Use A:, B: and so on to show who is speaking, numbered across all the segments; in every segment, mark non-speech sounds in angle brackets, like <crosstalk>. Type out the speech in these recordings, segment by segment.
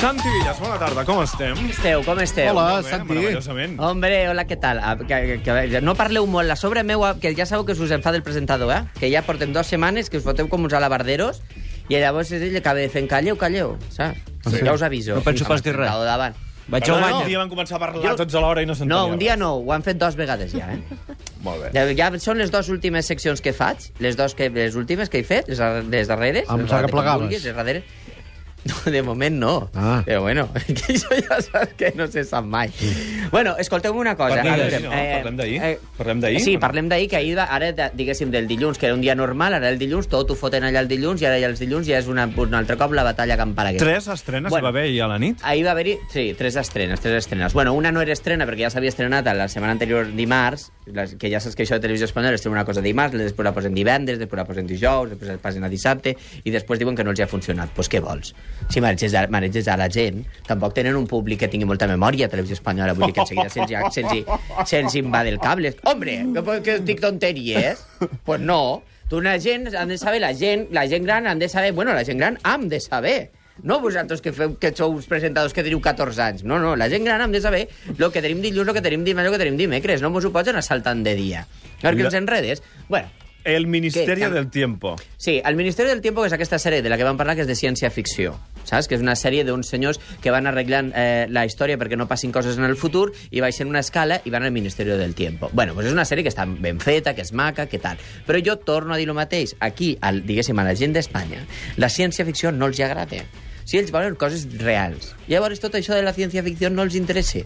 A: Santi Villas, bona tarda, com estem?
B: esteu? Com esteu?
A: Molt
C: Hola,
A: bé,
C: Santi.
A: Meravellosament.
B: Hombre, hola, què tal? Ah, Que, que, que, no parleu molt. La sobre meu, que ja sabeu que us enfada el presentador, eh? Que ja portem dues setmanes que us foteu com uns alabarderos i llavors és ell que acaba de fent calleu, calleu, saps?
C: Ah, Sí.
B: Ja us aviso.
C: No penso pas dir res.
B: Presentador davant.
C: Vaig al
A: Perdona,
C: bany.
A: Un dia van començar a parlar
B: Jo-
A: tots a l'hora i no s'entenia.
B: No, un dia no, ho han fet dues vegades ja, eh?
A: Molt bé.
B: Ja, ja són les dues últimes seccions que faig, les dues que, les últimes que he fet, les, ar- les darreres.
C: Em
B: les
C: pensava
B: darreres,
C: que plegaves.
B: vulguis, Les darreres. No, de moment no.
C: Ah.
B: Però bueno, <laughs> que això ja saps que no se sap mai. Bueno, escolteu una cosa.
A: Parlem
B: a
A: d'ahir,
B: veure,
A: no? Parlem d'ahir? Parlem d'ahir?
B: Sí, parlem d'ahir, que ahir, va- ara, de- diguéssim, del dilluns, que era un dia normal, ara el dilluns, tot ho foten allà el dilluns, i ara ja els dilluns ja és una, un altre cop la batalla campal aquesta.
A: Tres estrenes bueno.
B: Bueno.
A: va haver ahir a la nit.
B: Ahir va haver-hi, sí, tres estrenes, tres estrenes. Bueno, una no era estrena perquè ja s'havia estrenat la setmana anterior dimarts, les- que ja saps que això de televisió espanyola estrena una cosa dimarts, després la posen divendres, després la posen dijous, després la passen a dissabte, i després diuen que no els hi ha funcionat. Doncs pues què vols? Si maneges a, maneges a la gent, tampoc tenen un públic que tingui molta memòria a televisió espanyola, vull dir que enseguida se'ls se se se'ls invade el cable. Hombre, que, que dic tonteries? Doncs pues no. Tu la gent, han de saber, la gent, la gent gran han de saber, bueno, la gent gran han de saber no vosaltres que, feu, que sou uns presentadors que teniu 14 anys. No, no, la gent gran hem de saber el que tenim dilluns, el que tenim dimarts, el que tenim dimecres. No mos ho pots anar saltant de dia. Perquè
A: La-
B: ens enredes. Bueno,
A: El Ministerio
B: Què?
A: del Tiempo.
B: sí, el Ministeri del Tiempo, que és aquesta sèrie de la que vam parlar, que és de ciència-ficció. Saps? Que és una sèrie d'uns senyors que van arreglant eh, la història perquè no passin coses en el futur i baixen una escala i van al Ministeri del Tiempo. Bueno, doncs és una sèrie que està ben feta, que és maca, que tal. Però jo torno a dir el mateix. Aquí, al, diguéssim, a la gent d'Espanya, la ciència-ficció no els hi agrada. Si ells volen coses reals. Llavors tot això de la ciència-ficció no els interessa.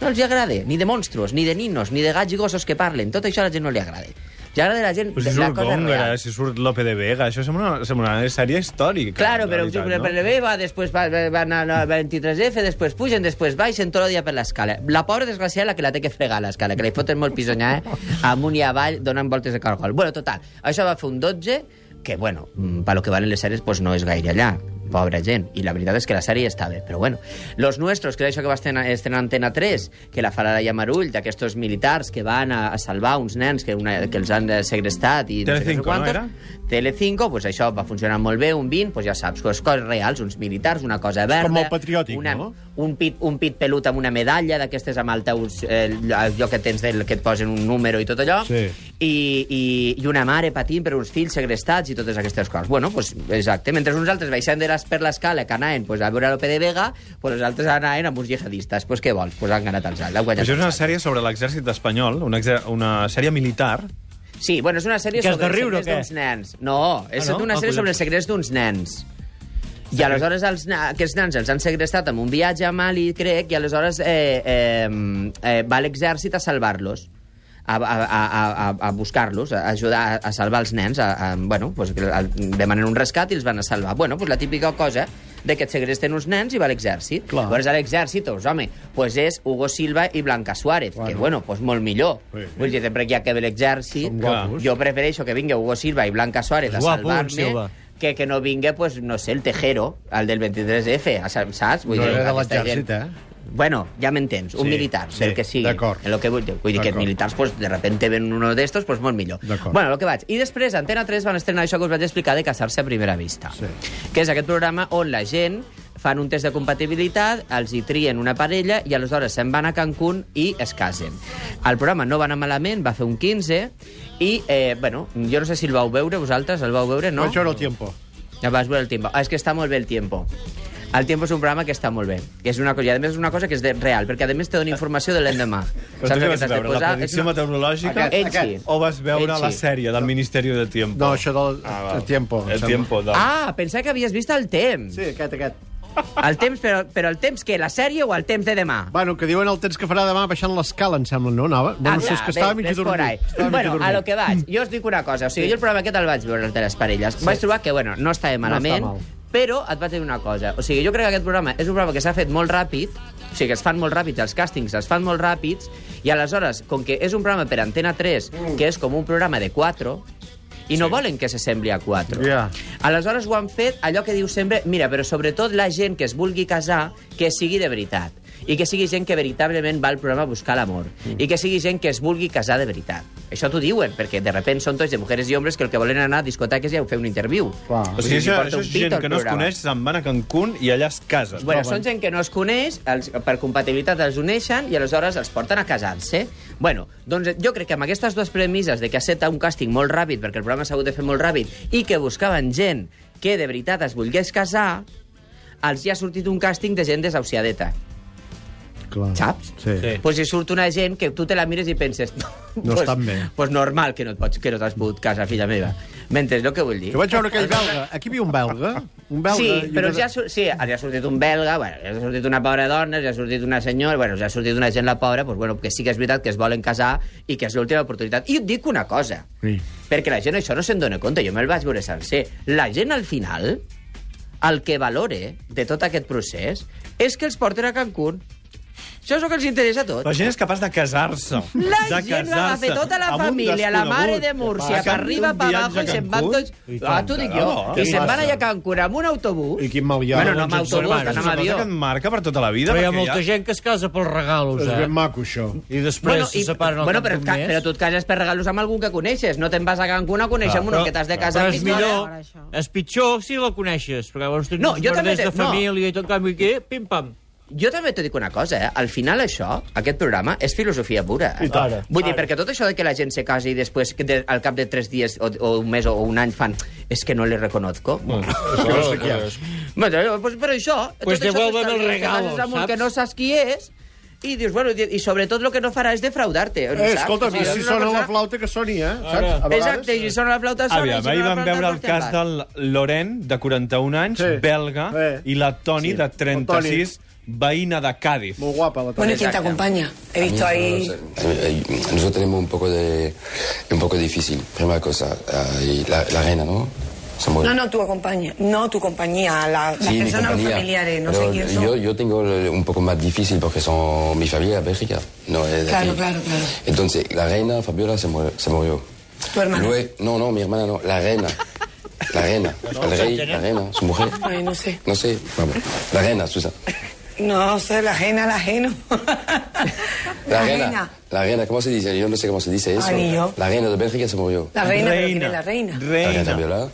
B: No els hi agrada, ni de monstruos, ni de ninos, ni de gats i gossos que parlen. Tot això a la gent no li agrada. Ja agrada a la gent
A: Però si
B: la
A: surt
B: cosa
A: Góngora,
B: real.
A: si surt Lope de Vega, això sembla una, sembla una sèrie històrica.
B: Claro,
A: en
B: però
A: realitat,
B: no? per l'EB va, després va, va- van a la 23F, després pugen, després baixen, tot el dia per l'escala. La pobra desgraciada la que la té que fregar l'escala, que li foten molt pisonyar, eh? amunt i avall, donant voltes de cargol. Bueno, total, això va fer un 12, que, bueno, mm, per lo que valen les sèries, pues no és gaire allà pobra gent, i la veritat és que la sèrie està bé, però bueno. Los Nuestros, que era això que va estrenar, estrenar Antena 3, que la farà la Llamarull, d'aquests militars que van a, a salvar uns nens que, una, que els han eh, segrestat i no sé què,
A: Telecinco,
B: no sé
A: no
B: quantos.
A: era?
B: Telecinco, pues això va funcionar molt bé, un 20, pues ja saps, les coses reals, uns militars, una cosa verda...
C: com molt patriòtic,
B: una,
C: no?
B: Un pit, un pit pelut amb una medalla, d'aquestes amb el teu... Eh, allò que tens del que et posen un número i tot allò.
C: Sí.
B: I, i, I una mare patint per uns fills segrestats i totes aquestes coses. Bueno, pues, exacte. Mentre uns altres baixant de les, per l'escala que anaven pues, a veure Lope de Vega, pues, els altres anaven amb uns jihadistes. Pues què vols? Pues han ganat els altres. han guanyat
A: Això és
B: els
A: una
B: altres.
A: sèrie sobre l'exèrcit espanyol, una, exer- una sèrie militar.
B: Sí, bueno, és una sèrie
C: Que has
B: sobre
C: de
B: els
C: riure,
B: secrets
C: o què?
B: d'uns nens. No, és
A: Ah, no? Ah,
B: una sèrie
A: collons.
B: sobre els secrets d'uns nens. I aleshores els, na- aquests nens els han segrestat amb un viatge a Mali, crec, i aleshores eh, eh, eh, va l'exèrcit a salvar-los a, a, a, a, a buscar-los, a ajudar a, a salvar els nens. A, a, bueno, pues, que el- demanen un rescat i els van a salvar. Bueno, pues, la típica cosa de que et segresten uns nens i va a l'exèrcit.
C: Clar.
B: Llavors a l'exèrcit, doncs, home, pues és Hugo Silva i Blanca Suárez, bueno. que bueno, pues molt millor.
C: Sí, sí.
B: Vull dir, sempre que hi ha que ve l'exèrcit,
C: Són
A: guapos.
B: jo prefereixo que vingui Hugo Silva i Blanca Suárez a
C: És guapo, el
B: salvar-me
C: Silva.
B: que, que no vingui, pues, no sé, el Tejero, el del 23F, a sal- saps?
C: No era de
B: aquesta
C: l'exèrcit,
B: gent-
C: eh?
B: Bueno, ja m'entens, un
C: Sí,
B: militar,
C: sí,
B: del que sigui.
C: d'acord.
B: El que vull dir, vull dir que els
C: D'acord.
B: militars, pues, de repente ven uno d'estos, pues, molt millor.
C: D'acord.
B: Bueno, el que vaig. I després, a Antena 3 van estrenar això que us vaig explicar de casar-se a primera vista.
C: Sí.
B: Que és aquest programa on la gent fan un test de compatibilitat, els hi trien una parella i aleshores se'n van a Cancún i es casen. El programa no va anar malament, va fer un 15 i, eh, bueno, jo no sé si el vau veure vosaltres, el vau veure, no?
C: No? Això era el tiempo.
B: Ja vas veure el tiempo. Ah, és que està molt bé el tiempo. El tiempo és un programa que està molt bé. Que és una cosa, I a més és una cosa que és de real, perquè a més te dona informació de
C: <laughs>
B: l'endemà.
A: Però tu què
B: el que
A: vas
B: t'has de
A: veure? La
B: posar?
A: predicció
B: És una-
A: meteorològica?
B: Aquest,
C: Ell
B: aquest.
C: sí.
A: O vas veure
B: Ell
A: la
B: sí.
A: sèrie del Ministerio del Tiempo?
C: No, això del
A: Ah,
C: ah,
A: val.
C: el tiempo. em
A: El
C: sembla.
A: Tiempo. Del...
B: Ah, pensava que havies vist el temps.
C: Sí, aquest, aquest.
B: El temps, però, però el temps què? La sèrie o el temps de demà?
C: Bueno, que diuen el temps que farà demà baixant l'escala, em sembla, no? Anava? Bueno,
B: Ah,
C: no sé, és que estava mig adormit. Estava
B: Bueno,
C: mig
B: a lo
C: adormit.
B: que vaig. Jo us dic una cosa. O sigui, jo el programa aquest el vaig veure, el de les parelles. Sí. Vaig trobar que, bueno, no estava malament,
C: mal.
B: però et vaig dir una cosa. O sigui, jo crec que aquest programa és un programa que s'ha fet molt ràpid, o sigui, que es fan molt ràpids, els càstings es fan molt ràpids, i aleshores, com que és un programa per Antena 3, que és com un programa de 4, i no volen que s'assembli a 4.
C: Ja.
B: Aleshores ho han fet allò que diu sempre, mira, però sobretot la gent que es vulgui casar, que sigui de veritat. i que sigui gent que veritablement va al programa a buscar l'amor, i que sigui gent que es vulgui casar de veritat. Això t'ho diuen, perquè de repente són tots de mujeres i homes que el que volen anar a discoteques i a fer un interviu.
D: Clar.
A: O sigui,
B: Vull dir,
A: això,
B: porta
A: això
B: un
A: és
B: pit
A: gent
B: al
A: que no es
B: programa.
A: coneix, eh? se'n van a Cancún i allà es casen.
B: Bueno, són gent que no es coneix, els, per compatibilitat els uneixen i aleshores els porten a casar-se. Bueno, doncs jo crec que amb aquestes dues premisses de que accepta un càsting molt ràpid, perquè el programa s'ha hagut de fer molt ràpid, i que buscaven gent que de veritat es volgués casar, els hi ha sortit un càsting de gent desahuciadeta.
C: Clar.
B: Saps?
C: Sí. sí.
B: Pues si surt una gent que tu te la mires i penses...
C: No estan bé.
B: <laughs> Pues normal que no, et pots, que no t'has pogut casar, filla meva. Mentre és el que vull dir.
C: Jo vaig veure aquell belga. Aquí viu un belga. Un belga
B: Sí,
C: i
B: però
C: una-
B: ja, su- sí, ja ha sortit un belga, bueno, ja ha sortit una pobra dona, ja ha sortit una senyora, bueno, ja ha sortit una gent la pobra, doncs, bueno, que sí que és veritat que es volen casar i que és l'última oportunitat. I et dic una cosa,
C: Sí.
B: perquè la gent això no se'n dona compte, jo me'l vaig veure sencer. La gent al final, el que valore de tot aquest procés és que els porten a Cancún. Això és el que els interessa a
A: La
B: tots.
A: gent és capaç de casar-se.
B: La
A: de
B: gent va
A: casar-se
B: agafar tota la
A: amb un
B: família, la mare de
A: desconegut.
B: Múrcia,
A: Que
B: per
A: fan
B: arriba,
A: un
B: per
A: viatge
B: abajo, i
A: a
B: se'n van
A: Cancún.
B: tots...
D: I tant,
B: Ah, t'ho dic jo.
A: de debò.
B: I
A: Què
B: se'n van
C: passa?
B: allà a Cancún amb un autobús.
C: I quin mal hi ha.
B: Bueno, no
C: Doncs
B: amb
C: ens
B: autobús,
C: observem.
B: que
A: És
B: amb
A: una cosa
B: avió.
A: que et marca per tota la vida.
D: Però hi ha
A: perquè
D: molta gent que es casa pels regalos,
C: És
D: eh?
C: ben maco, això.
D: I després
B: i-
D: se separen al
B: bueno,
D: cap
B: però,
D: d'un
B: ca,
D: mes.
B: però tu et cases per regalos amb algú que coneixes. No te'n vas a Cancún a conèixer amb un que t'has de casar.
D: Però
B: amb
D: és
B: qui no.
D: millor,
E: Ara, això.
D: és pitjor si la coneixes, perquè llavors tens
B: No,
D: no,
B: jo
D: uns
B: també
D: verders de
B: te- no.
D: família i tot, en canvi aquí, pim-pam.
B: Jo també t'ho dic una cosa, eh? Al final això, aquest programa, és filosofia pura. Eh?
C: I tant. Ara,
B: Vull dir, perquè tot això de que la gent se casi i després, que de, al cap de tres dies o, o un mes o un any fan és que no le reconozco. Mm. Bueno, eh, pues, però això...
D: Pues
B: tot això t'està-
D: devuélveme el
B: te
D: regalo,
B: cases amb un
D: saps?
B: Que no saps qui és, i dius, bueno, i sobretot el que no farà és defraudar-te. no
C: Eh,
B: saps?
C: escolta,
B: O sigui,
C: si
B: és una
C: sona
B: cosa-
C: la flauta que soni, eh?
D: Ara.
C: Saps? A vegades- eh.
B: Exacte, i si sona la flauta sona... i
A: Aviam,
B: si
A: ahir
B: sona la
A: vam
B: flauta
A: veure el
B: sona, te'n
A: cas
B: vas.
A: del Loren, de 41 anys,
C: Sí.
A: belga,
C: Sí.
A: i la Toni,
C: Sí.
A: de 36, veïna de Cádiz.
C: Molt guapa, la
F: Bueno,
C: Toni.
F: ¿y quién te acompaña? He visto ahí...
G: Eh, eh, Nosotros tenemos un poco de un poco difícil. Primera cosa, eh, y la, la reina, ¿no? Se muere.
F: No, no, tu acompaña. No, tu compañía, la, las
G: Sí, mi
F: personas los
G: compañía.
F: familiares, no
G: Pero
F: sé quién
G: Yo,
F: son.
G: yo tengo el- un poco más difícil porque son mi familia es Bélgica. No es de
F: Claro,
G: aquí.
F: claro, claro.
G: Entonces, la reina Fabiola se, muere- se murió.
F: ¿Tu hermana?
G: Lue- no, no, mi hermana no, la reina. La reina, el rey, la reina, su mujer.
F: Ay, no sé.
G: No sé, vamos, la reina, Susa.
F: No sé, la ajena, la ajeno.
G: La reina, la reina, ¿cómo se dice? Yo no sé cómo se dice eso.
F: Ah, ni yo.
G: La reina de Bélgica se murió.
F: La reina, pero ¿quién es la reina?
G: La reina
A: Reina.
G: Fabiola.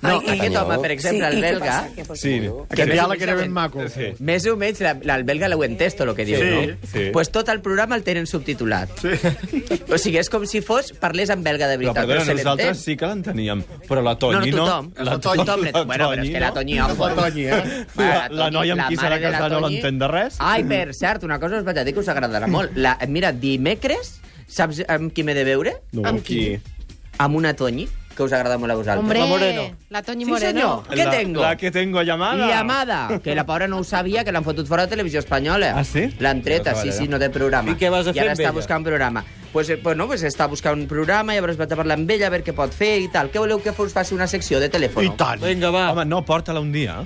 B: No,
F: Ai, i-
B: aquest home, per
G: Sí,
B: exemple,
F: i
B: el
F: què
B: belga...
F: passa? Què passa?
A: Sí.
C: Aquest diàleg era ben maco.
A: Sí.
B: Més o menys, la- la- el belga l'ho entesto, el que diu,
C: Sí,
B: no?
A: sí.
B: Pues tot el programa el tenen subtitulat.
C: Sí.
B: O sigui, és com si fos, parlés en belga de
A: Però,
B: veritat, però,
A: perdona,
B: se l'entén.
A: nosaltres sí que l'enteníem, però la
B: No, no,
A: Toni no.
B: tothom.
A: La
B: tothom,
A: Toni,
B: l'entén. bueno, però és que la
A: no.
B: Toni...
C: La
B: ojo.
C: Toni, eh?
B: Va,
A: La- la noia amb qui s'ha
B: mare
A: de casar
B: la
A: no
B: Toni. Ah,
A: l'entén de res.
B: Ai, per cert, una cosa us vaig a dir que us agradarà molt. La, mira, dimecres, saps amb qui m'he de veure?
A: No, amb qui?
B: Amb una Toni, que us agrada molt a vosaltres.
E: Hombre, la,
D: Moreno.
E: Toñi
B: Sí,
E: Moreno.
B: senyor. Què
A: La-
B: tengo?
A: La que tengo llamada.
B: Llamada, que la pobra no ho sabia, que l'han fotut fora de Televisió Espanyola.
A: Ah, sí?
B: L'han tret,
A: Ja,
B: sí,
A: vale.
B: sí, no té programa.
D: I què vas a fer
B: I ara
D: amb
B: està
D: ella?
B: buscant programa. Pues, eh, pues no, pues està buscant un programa, llavors vaig a parlar amb ella, a veure què pot fer i tal. Què voleu que us faci una secció de telèfon?
C: I tant.
D: Vinga, va.
A: Home, no, porta-la un dia.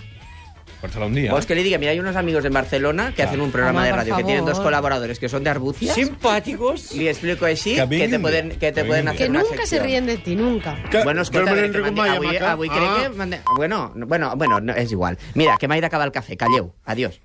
A: Porta-la un dia.
B: Vols que le diga, mira, hay unos amigos en Barcelona que hacen un programa
E: Home,
B: de
E: per
B: radio que
E: favor.
B: tienen dos colaboradores que son de Argucias.
D: Simpàticos.
B: Le explico así
A: Que
B: que, te
A: vinguin.
B: pueden, que te
A: Que
B: pueden
A: vinguin.
B: hacer
E: Que
B: una
E: nunca se
B: sección.
E: ríen de ti, nunca.
C: Que-
B: Bueno, escolta,
C: Però me
B: que
C: n'he
B: mandi-
C: rigut mai,
B: avui,
C: maca.
B: avui crec
C: Ah.
B: que... mande- Bueno, no- bueno, bueno, no, és igual. Mira, que m'ha d'acabar el cafè, calleu. Adiós.